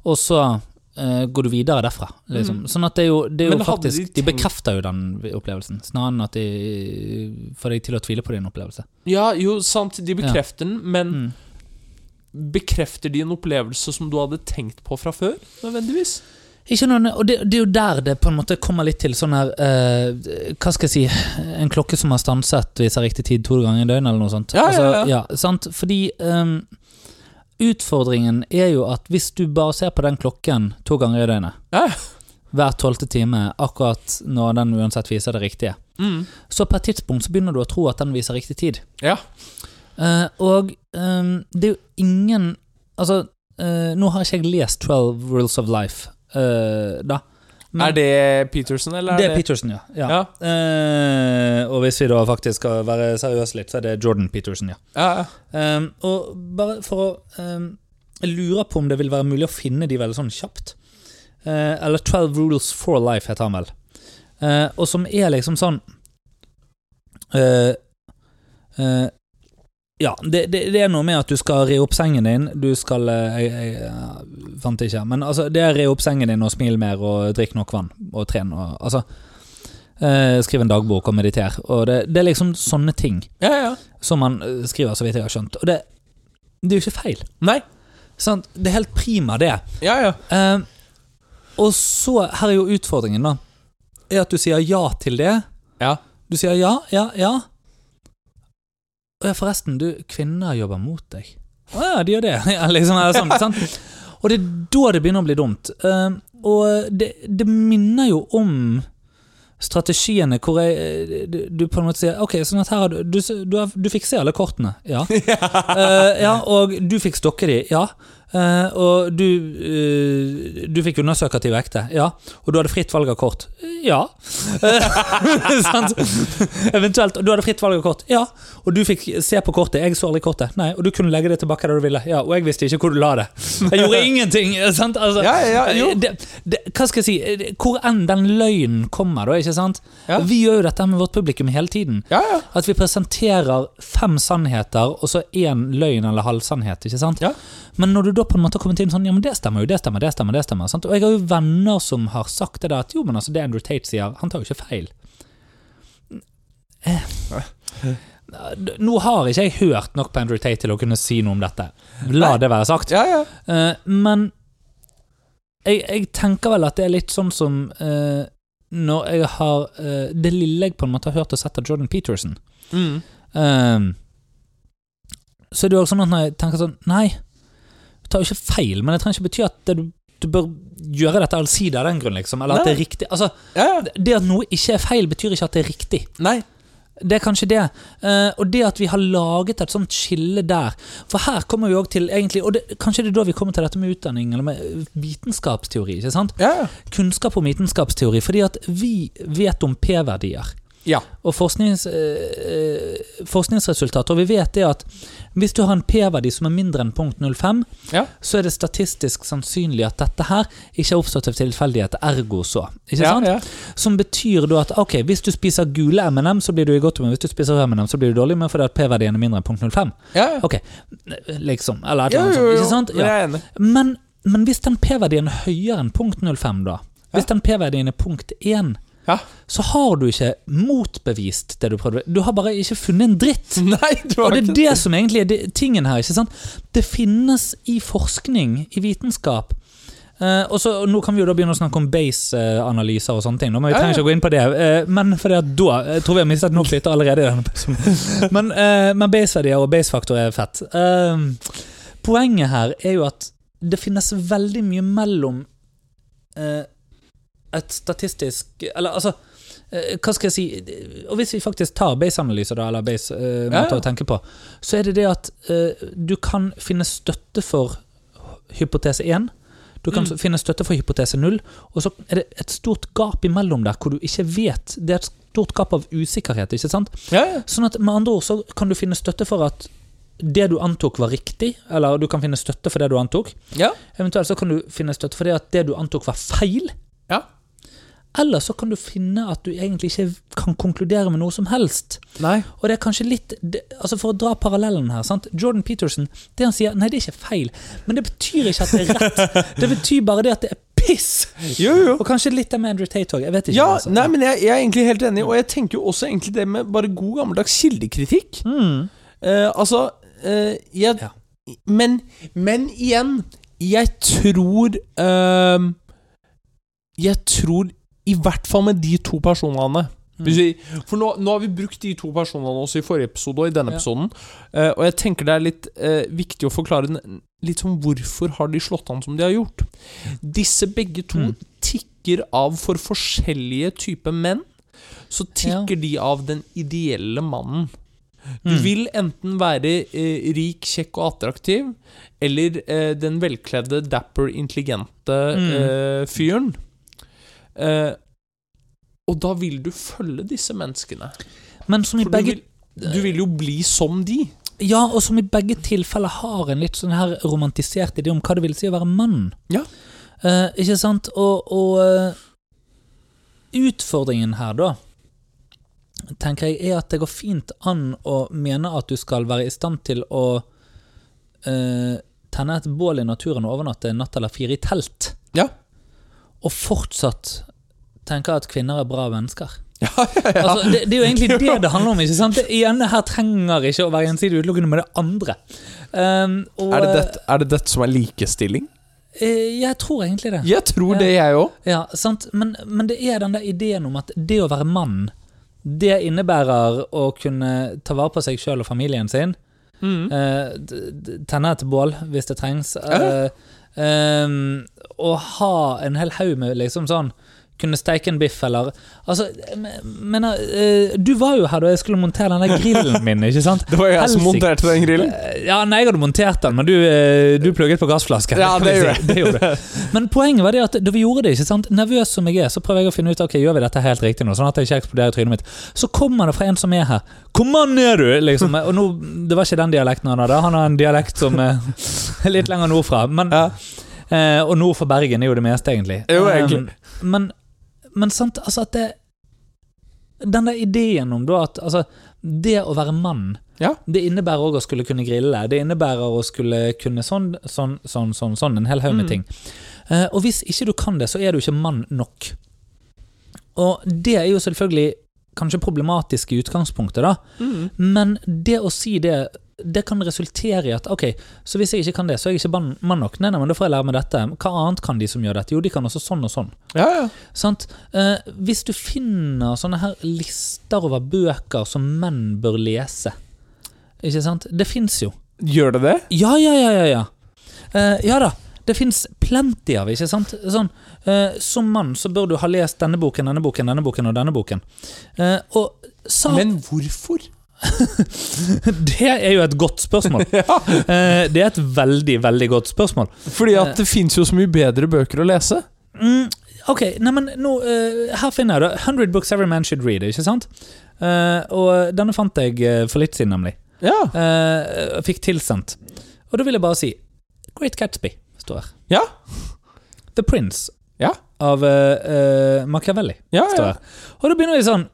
Og så eh, går du videre derfra. Liksom. Sånn at det er jo, det er
Mm.
jo
Men hadde de
faktisk De
tenkt-
bekrefter jo den opplevelsen, snarere enn at de får deg til å tvile på din opplevelse.
ja jo, sant, de bekrefter den, men
Mm.
bekrefter de en opplevelse som du hadde tenkt på fra før, nødvendigvis?
Ikke noen, og det, det er jo der det på en måte kommer litt til sånn her eh, Hva skal jeg si En klokke som har stanset viser riktig tid to ganger i døgnet, eller noe sånt. Altså,
Ja, ja, ja.
sant? Fordi ehm, utfordringen er jo at hvis du bare ser på den klokken to ganger i døgnet,
Ja.
hver tolvte time, akkurat når den uansett viser det riktige,
Mm.
så på et tidspunkt så begynner du å tro at den viser riktig tid.
Ja.
Eh, og ehm, det er jo ingen Altså, eh, nå har ikke jeg lest 12 Rules of Life, eh, da. Men-
Er det Peterson, eller
det er Peterson, ja. ja.
Ja.
Eh, og hvis vi da faktisk skal være seriøse litt, så er det Jordan Peterson, ja.
Ja,
Ehm, og bare for å ehm, Jeg lurer på om det vil være mulig å finne de veldig sånn kjapt. Eh, eller 12 Rules for Life heter han vel. Eh, og som er liksom sånn eh, eh, Ja, det, det, det er noe med at du skal re opp sengen din. Du skal eh, Jeg, jeg eh, fant det ikke. Men altså, det er re opp sengen din og smil mer og drikk nok vann og tren og Altså. eh, skriv en dagbok og mediter. Og det, det er liksom sånne ting
ja. ja.
som han eh, skriver, så vidt jeg har skjønt. Og det, det er jo ikke feil.
Nei.
Sant? Det er helt prima, det.
Ja, ja.
Eh, og så, her er jo utfordringen, da. Er at du sier ja til det.
Ja.
Du sier ja, ja, ja. Og ja, forresten, du, kvinner jobber mot deg. Å ja, de gjør det. Ja, liksom, eller sånn, sant? Og det er da det begynner å bli dumt. Eh, og det, det minner jo om strategiene hvor jeg, eh, du, du på en måte sier Ok, sånn at her har du Du, du, har, du fikser alle kortene. Ja. Eh, ja, og du fikk stokke de, ja. Eh, og du, eh, du fikk undersøkativ ekte, ja. Og du hadde fritt valg av kort, ja. Eh, sant? Eventuelt. Og du hadde fritt valg av kort, ja. Og du fikk se på kortet, jeg så aldri kortet. Nei, Og du kunne legge det tilbake der du ville, ja. Og jeg visste ikke hvor du la det. Jeg gjorde ingenting! eh, sant? Altså,
Ja, ja, jo.
Det, det, hva skal jeg si, eh, det- hvor enn den løgnen kommer, da, ikke sant.
Ja.
Vi gjør jo dette med vårt publikum hele tiden.
Ja, ja.
At vi presenterer fem sannheter, og så én løgn eller halvsannhet. ikke sant?
Ja.
Men når du da på en måte har kommet inn sånn Ja, men det stemmer jo, det stemmer, det stemmer. det stemmer, sant? Og jeg har jo venner som har sagt det der at jo, men altså, det Andrew Tate sier, han tar jo ikke feil. Eh. Nå har ikke jeg hørt nok på Andrew Tate til å kunne si noe om dette. La
Nei.
det være sagt.
ja, ja.
Eh, men jeg, jeg tenker vel at det er litt sånn som eh, når jeg har eh, Det lille jeg på en måte har hørt og sett av Jordan Peterson.
Mm.
eh, så er det jo også sånn at når jeg tenker sånn Nei, du tar jo ikke feil, men det trenger ikke bety at det, du, du bør gjøre dette allsidig av den grunn, liksom. Eller at det er riktig. Altså,
Ja, ja.
det at noe ikke er feil, betyr ikke at det er riktig.
Nei.
Det er kanskje det. Eh, og det at vi har laget et sånt skille der. For her kommer vi òg til, egentlig Og det, kanskje det er da vi kommer til dette med utdanning, eller med eh, vitenskapsteori. ikke sant?
Ja, ja.
Kunnskap om vitenskapsteori. Fordi at vi vet om p-verdier
Ja.
og forsknings, eh, eh, forskningsresultater. Og vi vet det at hvis du har en p-verdi som er mindre enn punkt 05,
Ja.
så er det statistisk sannsynlig at dette her ikke har oppstått av tilfeldighet, ergo så. Ikke
ja,
sant?
ja.
Som betyr da at ok, hvis du spiser gule M&M, så blir du i godt humør. Hvis du spiser rød M&M, så blir du dårlig, men fordi at p-verdien er mindre enn punkt 05.
ja, ja.
Ok, liksom. Eller et
Jo,
eller annet
jo,
sånt.
jo.
Ikke sant?
Jeg
Ja.
er enig.
Men, men hvis den p-verdien er høyere enn punkt 05, da Hvis den p-verdien er punkt 1,
Ja.
så har du ikke motbevist det du prøvde. Du har bare ikke funnet en dritt.
Nei, du
Og
har
det er
ikke
det som egentlig er det- tingen her. ikke sant? Det finnes i forskning, i vitenskap eh, og så, og Nå kan vi jo da begynne å snakke om base-analyser og sånne ting, da, men vi
Ja, ja.
trenger ikke gå inn på det. eh, men fordi at da eh, tror vi har mistet nok lytter allerede. i denne episoden. Men, eh, men base-verdier og base-faktor er fett. Eh, poenget her er jo at det finnes veldig mye mellom eh, et statistisk Eller altså eh, hva skal jeg si Og hvis vi faktisk tar base-analyser, da, eller base-måter
Ja, ja.
å tenke på, så er det det at eh, du kan finne støtte for hypotese 1. Du kan
Mm.
finne støtte for hypotese 0, og så er det et stort gap imellom der hvor du ikke vet. Det er et stort gap av usikkerhet. ikke sant?
Ja, ja.
Sånn at med andre ord så kan du finne støtte for at det du antok var riktig, eller du kan finne støtte for det du antok.
Ja.
Eventuelt så kan du finne støtte for det at det du antok var feil.
Ja.
Eller så kan du finne at du egentlig ikke kan konkludere med noe som helst.
Nei.
Og det er kanskje litt det, altså For å dra parallellen her. sant? Jordan Peterson det han sier, nei, det er ikke feil, men det betyr ikke at det er rett. Det betyr bare det at det er piss!
Jo, jo.
Og kanskje litt det med Andrew Tate òg. Jeg vet ikke.
Ja,
altså.
nei, men jeg, jeg er egentlig helt enig, og jeg tenker jo også egentlig det med bare god gammeldags kildekritikk.
Mm.
Eh, altså eh, jeg,
Ja.
men, men igjen, jeg tror eh, Jeg tror i hvert fall med de to personene
Mm.
Hvis vi- For nå, nå har vi brukt de to personene også i forrige episode og i denne
Ja.
episoden. eh, og jeg tenker det er litt eh, viktig å forklare den- litt sånn hvorfor har de slått an som de har gjort. Disse begge to
Mm.
tikker av for forskjellige typer menn. Så
Ja.
tikker de av den ideelle mannen. Du
Mm.
vil enten være eh, rik, kjekk og attraktiv, eller eh, den velkledde, dapper, intelligente eh, fyren. Eh, og da vil du følge disse menneskene.
Men som i
For du
begge
vil, du vil jo bli som de.
Ja, og som i begge tilfeller har en litt sånn her romantisert idé om hva det vil si å være mann.
Ja.
Eh, ikke sant? Og, og eh, utfordringen her, da, tenker jeg, er at det går fint an å mene at du skal være i stand til å eh, tenne et bål i naturen og overnatte en natt eller fire i telt,
Ja.
og fortsatt tenke at kvinner er bra mennesker.
Ja, ja, ja.
Altså, det, det er jo egentlig det det handler om. ikke sant? Det ene her trenger ikke å være gjensidig utelukkende med det andre. Ehm, og,
Er det, dette, er det dette som er likestilling?
eh, Jeg tror egentlig det.
Jeg tror
Ja.
det, jeg òg.
Ja, sant? Men, men det er den der ideen om at det å være mann, det innebærer å kunne ta vare på seg sjøl og familien sin.
Mm.
eh, d- d- tenne et bål hvis det trengs. eh, ehm, og ha en hel haug med liksom sånn kunne steike en biff, eller Altså, men, men eh, du var jo her da jeg skulle montere den der grillen min, ikke sant?
Det var jeg som
Helsike.
monterte den grillen.
Eh, Ja, nei, jeg hadde montert den, men du, eh, du plugget på gassflasken.
Ja,
kan vi
det
si.
gjorde jeg.
det gjorde jeg. Men poenget var det at da vi gjorde det, ikke sant? nervøs som jeg er, så prøver jeg å finne ut ok, gjør vi dette helt riktig nå, sånn at jeg ikke eksploderer i trynet mitt. Så kommer det fra en som er her. 'Hvor mann er du?' liksom. Og nå, Det var ikke den dialekten han hadde. Han har en dialekt som eh, er litt lenger nordfra. Men,
Ja.
eh, og nord for Bergen er jo det meste, egentlig.
Jo, egentlig.
Eh, men, men sant, altså at det Den der ideen om da at altså, det å være mann
Ja.
det innebærer òg å skulle kunne grille. Det innebærer å skulle kunne sånn, sånn, sånn, sånn, sånn en hel haug med
Mm.
ting. Eh, og hvis ikke du kan det, så er du ikke mann nok. Og det er jo selvfølgelig kanskje problematisk i utgangspunktet, da.
Mm.
Men det å si det, det kan resultere i at ok, så hvis jeg ikke kan det, så er jeg ikke mann mann nok. Nei, nei, men da får jeg lære meg dette. Hva annet kan de som gjør dette? Jo, de kan også sånn og sånn.
Ja, ja.
Sant? Eh, hvis du finner sånne her lister over bøker som menn bør lese Ikke sant? Det fins jo.
Gjør det det?
Ja, ja, ja, ja, ja. Eh, ja da, det fins plenty av, ikke sant? Sånn, eh, som mann så bør du ha lest denne boken, denne boken, denne boken og denne boken. Eh, og sa
Men hvorfor?
Det er jo et godt spørsmål.
Ja,
Eh, det er et veldig, veldig godt spørsmål.
fordi at det fins jo så mye bedre bøker å lese.
Mm, ok, nei, men nå, eh, her finner jeg det. 100 books every man should read, ikke sant? Eh, og denne fant jeg eh, for litt siden, nemlig.
Ja.
Eh, fikk tilsendt. Og da vil jeg bare si Great Gatsby står her.
Ja.
The Prince
Ja.
av eh, eh, Machiavelli.
Ja,
står
ja.
her. Og da begynner vi sånn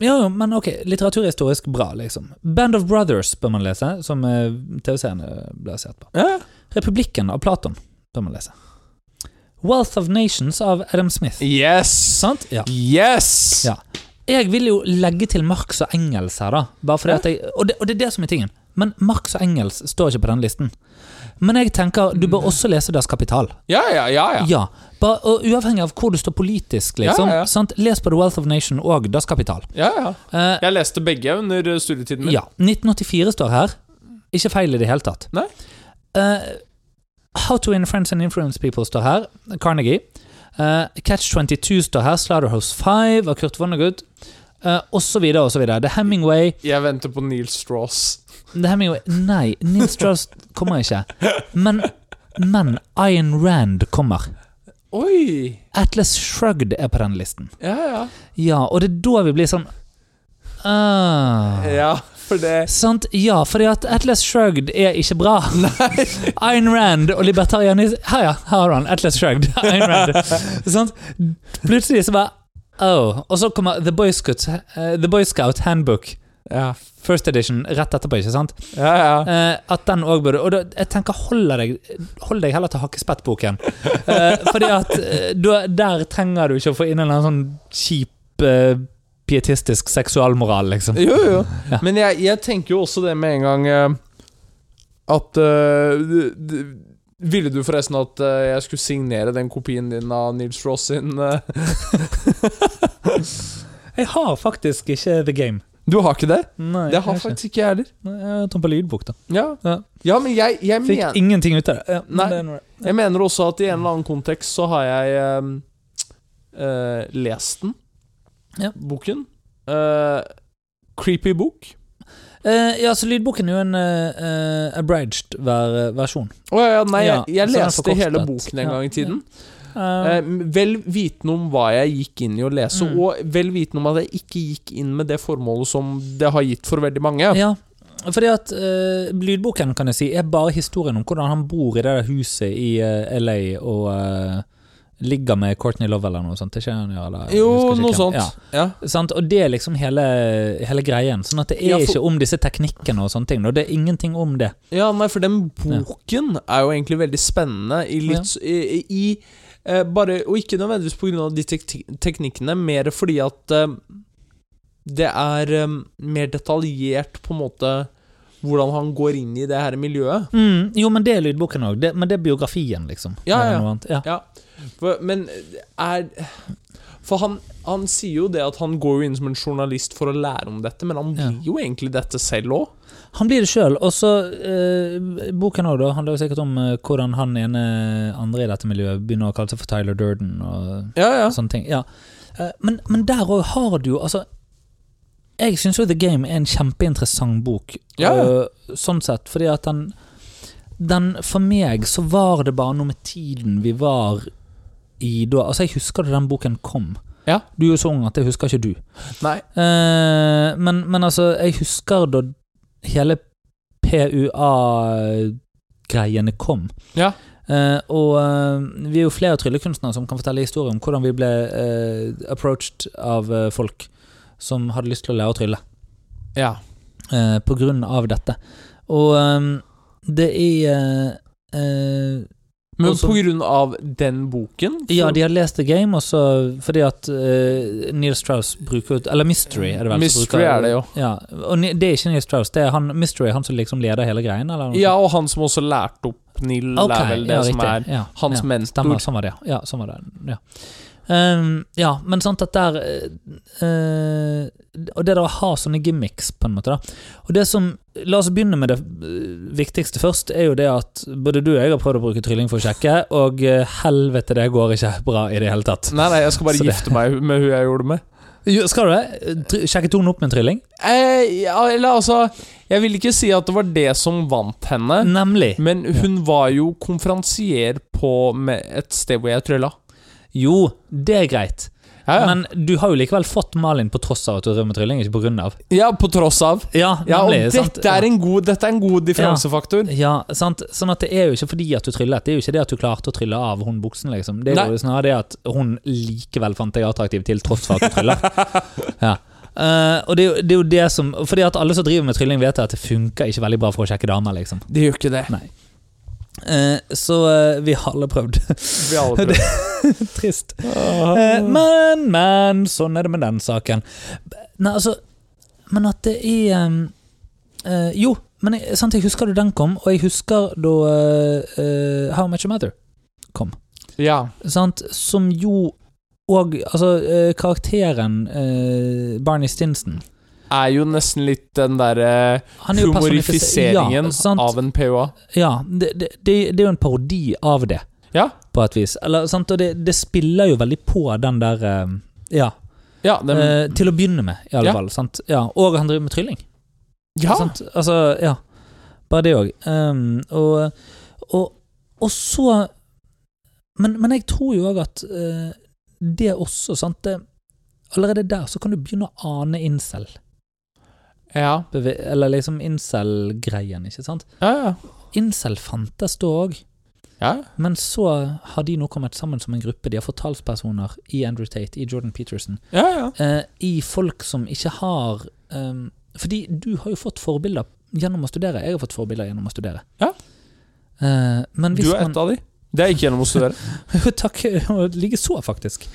Ja, jo, men ok, litteraturhistorisk bra, liksom. Band of Brothers bør man lese, som eh, TV-serien eh, ble sett på.
ja.
Republikken av Platon bør man lese. Wealth of Nations av Adam Smith.
Yes!
Sant? Ja.
Yes!
Ja. Jeg vil jo legge til Marx og Engels her, da. Bare fordi at jeg, og, det, og det er det som er tingen. Men Marx og Engels står ikke på den listen. Men jeg tenker, du bør også lese Das Kapital.
Ja, ja, Mm. ja. ja.
Ja. Bare, og uavhengig av hvor du står politisk, liksom.
Ja, ja, ja.
Sant? Les på The Wealth of Nation og Das Kapital.
ja, ja.
Eh,
Jeg leste begge under eh, studietiden min.
ja. 1984 står her. Ikke feil i det hele tatt.
Nei.
Eh, How to Win Friends and Influence People står her. Carnegie. Eh, Catch 22 står her. Slaughterhouse 5 av Kurt Vonnegut. Uh, og så videre og så videre. The Hemingway
Jeg venter på Neil Strauss.
Det her med jo Nei, Neil Strauss kommer ikke. Men, men Ayn Rand kommer.
Oi!
Atlas Shrugged er på den listen.
Ja, ja.
Ja, og det er da vi blir sånn ah.
Ja, for det
Sant? Ja, fordi at Atlas Shrugged er ikke bra. Ayn Rand og libertarianisme Her, ja. Her har du han. Atlas Shrugged. Ayn Rand. Sant? Plutselig så bare Oh. Og så kommer The Boy Scout, eh, The Boy Scout Handbook.
Ja,
First edition rett etterpå, ikke sant?
ja. ja.
Eh, at den òg burde Og da, jeg tenker, hold deg, hold deg heller til Hakkespettboken. Eh, fordi at eh, da- der trenger du ikke å få inn en eller annen sånn kjip eh, pietistisk seksualmoral, liksom.
Jo, jo.
Ja.
Men jeg, jeg tenker jo også det med en gang eh, at eh, d- d- Ville du forresten at eh, jeg skulle signere den kopien din av Neil Strauss sin eh?
Jeg har faktisk ikke The Game.
Du har ikke det?
Nei,
Det har
jeg
faktisk ikke jeg heller.
ikke. Nei, Jeg har den på lydbok, da.
Ja,
Ja.
ja men jeg, jeg,
Fikk
men,
ingenting ut av det. Ja, men
Nei.
det er noe-
jeg mener også at i en eller annen kontekst så har jeg eh, eh, lest den.
Ja.
Boken. Eh, creepy bok.
Eh, ja, så lydboken er jo en eh, eh, abridged ver versjon.
Å ja, ja, nei,
Ja,
jeg, jeg
så den er
leste hele
forkortet.
boken en
Ja,
gang i tiden.
Eh,
Eh, vel vitende om hva jeg gikk inn i å lese,
Mm.
og vel vitende om at jeg ikke gikk inn med det formålet som det har gitt for veldig mange.
Ja, fordi at eh, lydboken kan jeg si er bare historien om hvordan han bor i det der huset i eh, LA og eh, ligger med Courtney Love eller noe sånt. Det er ikke han gjør, eller, jeg
Jo,
husker ikke
noe
hvem.
sånt.
Ja,
Ja.
sant? Og det er liksom hele, hele greien. Sånn at det er
Ja, for-
ikke om disse teknikkene og sånne ting. Og det er ingenting om det.
ja, nei, for den boken er jo egentlig veldig spennende i
Ja.
litt s- i, i eh, bare, Og ikke nødvendigvis pga. de tek teknikkene, mer fordi at eh, det er eh, mer detaljert på en måte hvordan han går inn i det her miljøet.
Mm, jo, men det er lydboken òg. Men det er biografien, liksom.
Ja,
Mer
ja.
enn noe annet. ja.
For, men eh, er For han, han sier jo det at han går jo inn som en journalist for å lære om dette, men
Ja.
han blir jo egentlig dette selv òg.
Han blir det sjøl. Og så eh, Boken også da handler jo sikkert om eh, hvordan han ene andre i dette miljøet begynner å kalle seg for Tyler Durden. og
Ja, ja.
sånne ting. Ja. Eh, Men, men der òg har du jo Altså, jeg syns jo The Game er en kjempeinteressant bok,
Ja, ja.
eh, sånn sett, fordi at den den, For meg så var det bare noe med tiden vi var i da. Altså, jeg husker da den boken kom.
Ja.
Du er jo så ung at jeg husker ikke du.
Nei.
Eh, men, men altså, jeg husker da hele PUA-greiene kom.
Ja.
Eh, og eh, vi er jo flere tryllekunstnere som kan fortelle historier om hvordan vi ble eh, approached av eh, folk som hadde lyst til å lære å trylle
Ja.
eh, på grunn av dette. Og eh, det er eh, eh,
Men
Også-
på grunn av den boken for-
Ja, de har lest The Game, og så fordi at eh, Neil Strauss bruker ut Eller Mystery, er det vel? som
Mystery
bruker,
er det jo.
Ja, og ni- det er ikke Neil Strauss, det er han, Mystery han som liksom leder hele greien, eller? noe
ja, og han Sånn som også lærte opp Neil,
sånt? Ok,
er vel det
ja,
som
riktig,
er
ja,
hans
ja.
mentor.
Stemmer, sånn var det, ja. ja, sånn var det, ja. Ehm, ja, men sant at der eh, eh, Og det der å ha sånne gimmicks, på en måte, da. Og det som La oss begynne med det eh, viktigste først, er jo det at både du og jeg har prøvd å bruke trylling for å sjekke, og eh, helvete, det går ikke bra i det hele tatt.
Nei, nei, jeg skal bare
Så det-
gifte meg med hun jeg gjorde det med.
Jo, Skal du det? Try- Sjekke tonen opp med en trylling?
Eh, ja, eller altså Jeg vil ikke si at det var det som vant henne,
Nemlig.
men hun var jo konferansier på med et sted hvor jeg trylla.
Jo, det er greit.
Ja, ja.
Men du har jo likevel fått Malin på tross av at du drev med trylling, ikke på grunn av.
ja, på tross av.
Ja,
Ja, og
nemlig, sant?
dette er en god, dette er en god differansefaktor.
Ja, sant? Sånn at det er jo ikke fordi at du tryllet. Det er jo ikke det at du klarte å trylle av hun buksen, liksom. Det er
Nei.
jo snarere det at hun likevel fant deg attraktiv til tross for at du tryller. ja. Eh, og det er, jo, det er jo det som Fordi at alle som driver med trylling, vet at det funker ikke veldig bra for å sjekke damer, liksom.
Det gjør ikke det.
Nei. Eh, så eh, vi har alle prøvd.
Vi alle prøver.
Trist.
Ah.
Eh, men, men, sånn er det med den saken. Nei, altså Men at det er ehm, eh, Jo, men jeg, sant, jeg husker da den kom, og jeg husker da eh, eh, How Much Matter kom.
Ja.
Sant? Som jo og altså, eh, karakteren eh, Barney Stinson
Er jo nesten litt den derre
han er jo personifisert-
humorifiseringen
ja, sant?
av en POA.
Ja, det, det, det, det er jo en parodi av det,
Ja.
på et vis. Eller, sant? Og det, det spiller jo veldig på den der eh, Ja.
Ja, den,
eh, til å begynne med, i alle
Ja.
fall. Sant? Ja. Og han driver med trylling.
ja.
Sant? Altså, ja. Bare det òg. Um, og, og, og så Men, men jeg tror jo òg at eh, det også, sant det, Allerede der så kan du begynne å ane incel.
ja.
Beve eller liksom incel-greien, ikke sant?
Ja, ja.
Incel fantes da òg.
ja.
Men så har de nå kommet sammen som en gruppe. De har fått talspersoner i Andrew Tate, i Jordan Peterson,
ja, ja.
eh, i folk som ikke har ehm, Fordi du har jo fått forbilder gjennom å studere. Jeg har fått forbilder gjennom å studere.
Ja.
Eh, men
Du
hvis
er
man
et av de. Det er ikke gjennom å studere.
Takk. og Likeså, faktisk.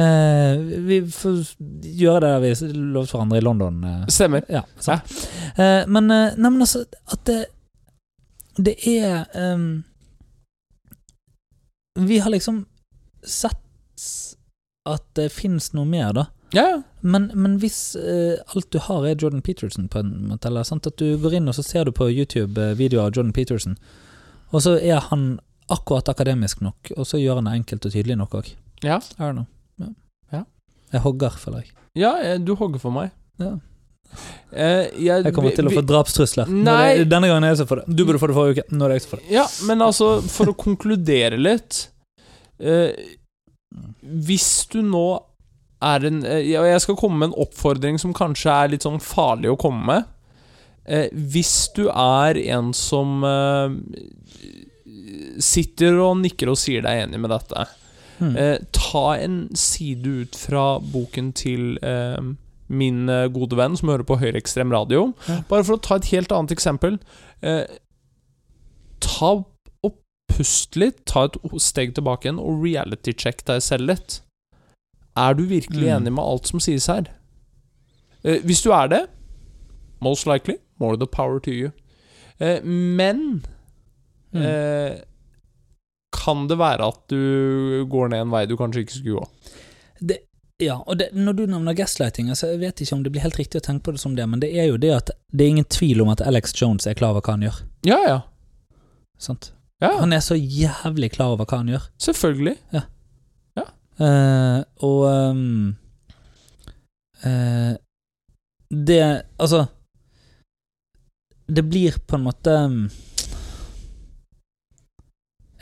Eh, vi får gjøre det vi lovte hverandre i London. eh,
Stemmer.
ja, sant. Eh, men, eh, nei, men altså At det, det er ehm, Vi har liksom sett at det fins noe mer, da.
Ja, ja.
Men, men hvis eh, alt du har er Jordan Peterson, på en måte, eller sant? at du går inn og så ser du på YouTube eh, videoer av Jordan Peterson, og så er han akkurat akademisk nok, og så gjør han det enkelt og tydelig nok òg.
Ja.
I don't know. Ja.
Ja.
Jeg hogger, føler jeg.
Ja, eh, du hogger for meg.
Ja.
Eh, jeg,
Jeg kommer til å
vi-
få drapstrusler. Nå er
Nei.
det- Denne gangen er jeg som får det. Du burde få det forrige uke. Nå er det jeg som får det.
Ja, men altså, for å konkludere litt eh, Hvis du nå er en eh, ja, Jeg skal komme med en oppfordring som kanskje er litt sånn farlig å komme med. Eh, hvis du er en som eh, sitter og nikker og sier deg enig med dette,
Mm.
eh, ta en side ut fra boken til eh, min eh, gode venn som hører på høyreekstrem radio.
Ja.
Bare for å ta et helt annet eksempel. Eh, ta og pust litt, ta et o- steg tilbake igjen og reality-check deg selv litt. Er du virkelig
Mm.
enig med alt som sies her? Eh, hvis du er det, most likely, more the power to you. Eh, men
Mm.
eh, kan det være at du går ned en vei du kanskje ikke skulle gå?
Ja, og det, når du nevner gaslighting, altså, jeg vet ikke om det blir helt riktig å tenke på det som det, men det er jo det at det er ingen tvil om at Alex Jones er klar over hva han gjør.
Ja, ja.
Sant?
ja
Han er så jævlig klar over hva han gjør.
selvfølgelig.
Eh, og ehm, eh, Det Altså Det blir på en måte ehm,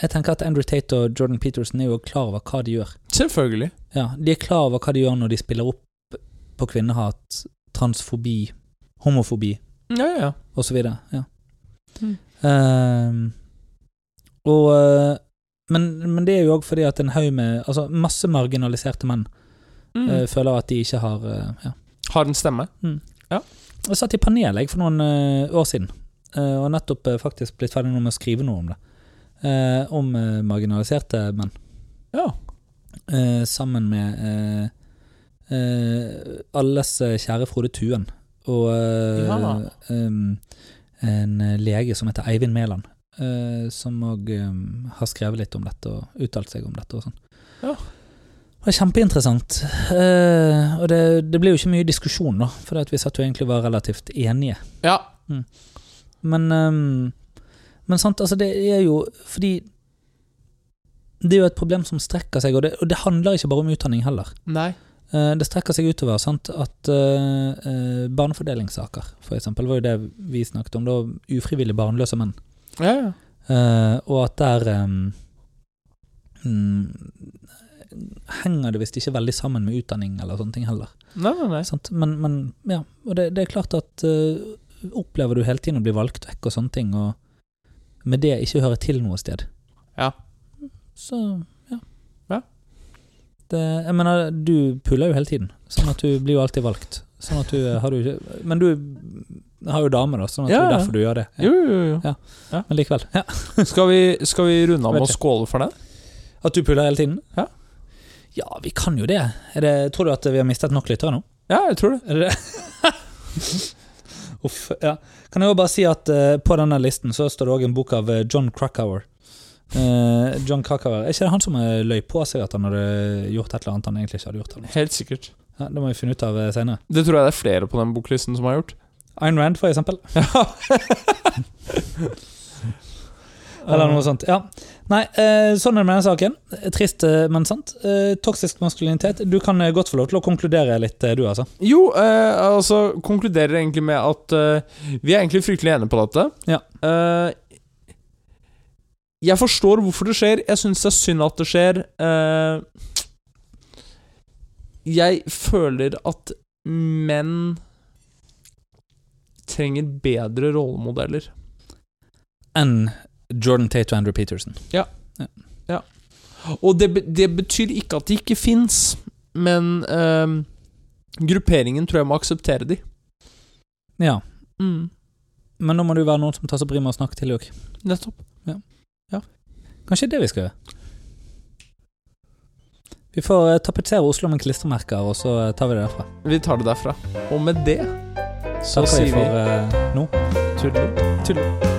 Jeg tenker at Andrew Tate og Jordan Peterson er jo klar over hva de gjør.
Selvfølgelig.
Ja, De er klar over hva de gjør når de spiller opp på kvinnehat, transfobi, homofobi
Ja, ja.
og så videre. Ja.
Mm.
Ehm, og eh, men, men det er jo òg fordi at en haug med Altså masse marginaliserte menn
Mm.
eh, føler at de ikke har eh, ja.
Har en stemme.
Jeg satt i panel jeg, for noen eh, år siden, eh, og har nettopp eh, faktisk blitt ferdig nå med å skrive noe om det. Eh, om eh, marginaliserte menn.
Ja.
Eh, sammen med eh, eh, alles eh, kjære Frode Tuen og eh,
Ja.
em, en eh, lege som heter Eivind Mæland, eh, som òg har skrevet litt om dette og uttalt seg om dette og sånn.
Ja.
Det var kjempeinteressant. Eh, og det, det ble jo ikke mye diskusjon, da, for at vi satt jo egentlig og var relativt enige.
Ja.
Men, ehm, men sant, altså det er jo fordi Det er jo et problem som strekker seg, og det, og det handler ikke bare om utdanning heller.
Nei.
Eh, Det strekker seg utover sant? at eh, eh, barnefordelingssaker, for eksempel, var jo det vi snakket om. Da, ufrivillig barnløse menn.
Ja, ja.
Eh, og at der ehm, em, mm, henger det visst ikke veldig sammen med utdanning eller sånne ting heller.
Nei, nei, nei.
Sant? Men, men ja, og det, det er klart at eh, opplever du hele tiden å bli valgt vekk og sånne ting, og med det ikke hører til noe sted,
Ja.
så ja.
Ja.
Det, jeg mener, du puller jo hele tiden, sånn at du blir jo alltid valgt. Sånn at du eh, har jo ikke Men du har jo dame, da, sånn at
Ja,
det
ja.
er derfor du gjør det. Ja.
Jo, jo, jo.
Men likevel. Ja.
Skal vi, skal vi runde av med å
Vet jeg.
skåle for den?
At du puller hele tiden?
Ja.
Ja, vi kan jo det. Er det tror du at vi har mistet nok lyttere nå?
Ja, jeg tror det.
Er det det? Uff, ja. Kan jeg jo bare si at eh, på denne listen så står det òg en bok av eh, John Krakauer. Eh, John Krakauer. Er ikke det han som eh, løy på seg at han hadde gjort et eller annet han egentlig ikke hadde gjort? Eller? noe?
Helt sikkert.
Ja, det må vi finne ut av eh, senere.
Det tror jeg det er flere på den boklisten som har gjort.
Ayn Rand, for eksempel. Eller noe sånt. Ja. Nei, eh, sånn er det med denne saken. Trist, eh, men sant. Eh, Toksisk maskulinitet. Du kan eh, godt få lov til å konkludere litt, eh, du, altså.
Jo, eh, altså konkluderer egentlig med at eh, vi er egentlig fryktelig enige på dette.
Ja.
Eh, jeg forstår hvorfor det skjer. Jeg syns det er synd at det skjer. Eh, jeg føler at menn trenger bedre rollemodeller.
Enn Jordan Tate og Andrew Peterson.
Og det, be- det betyr ikke at de ikke fins, men eh, grupperingen tror jeg må akseptere de.
Ja.
Mm,
Men nå må det jo være noen som tar seg bryet med å snakke til dem òg.
nettopp.
Kanskje det er det vi skal gjøre? Vi får eh, tapetsere Oslo med klistremerker, og så eh, tar vi det derfra.
Vi tar det derfra. Og med det så
Takker
sier
vi
vi
for eh, nå.
tull.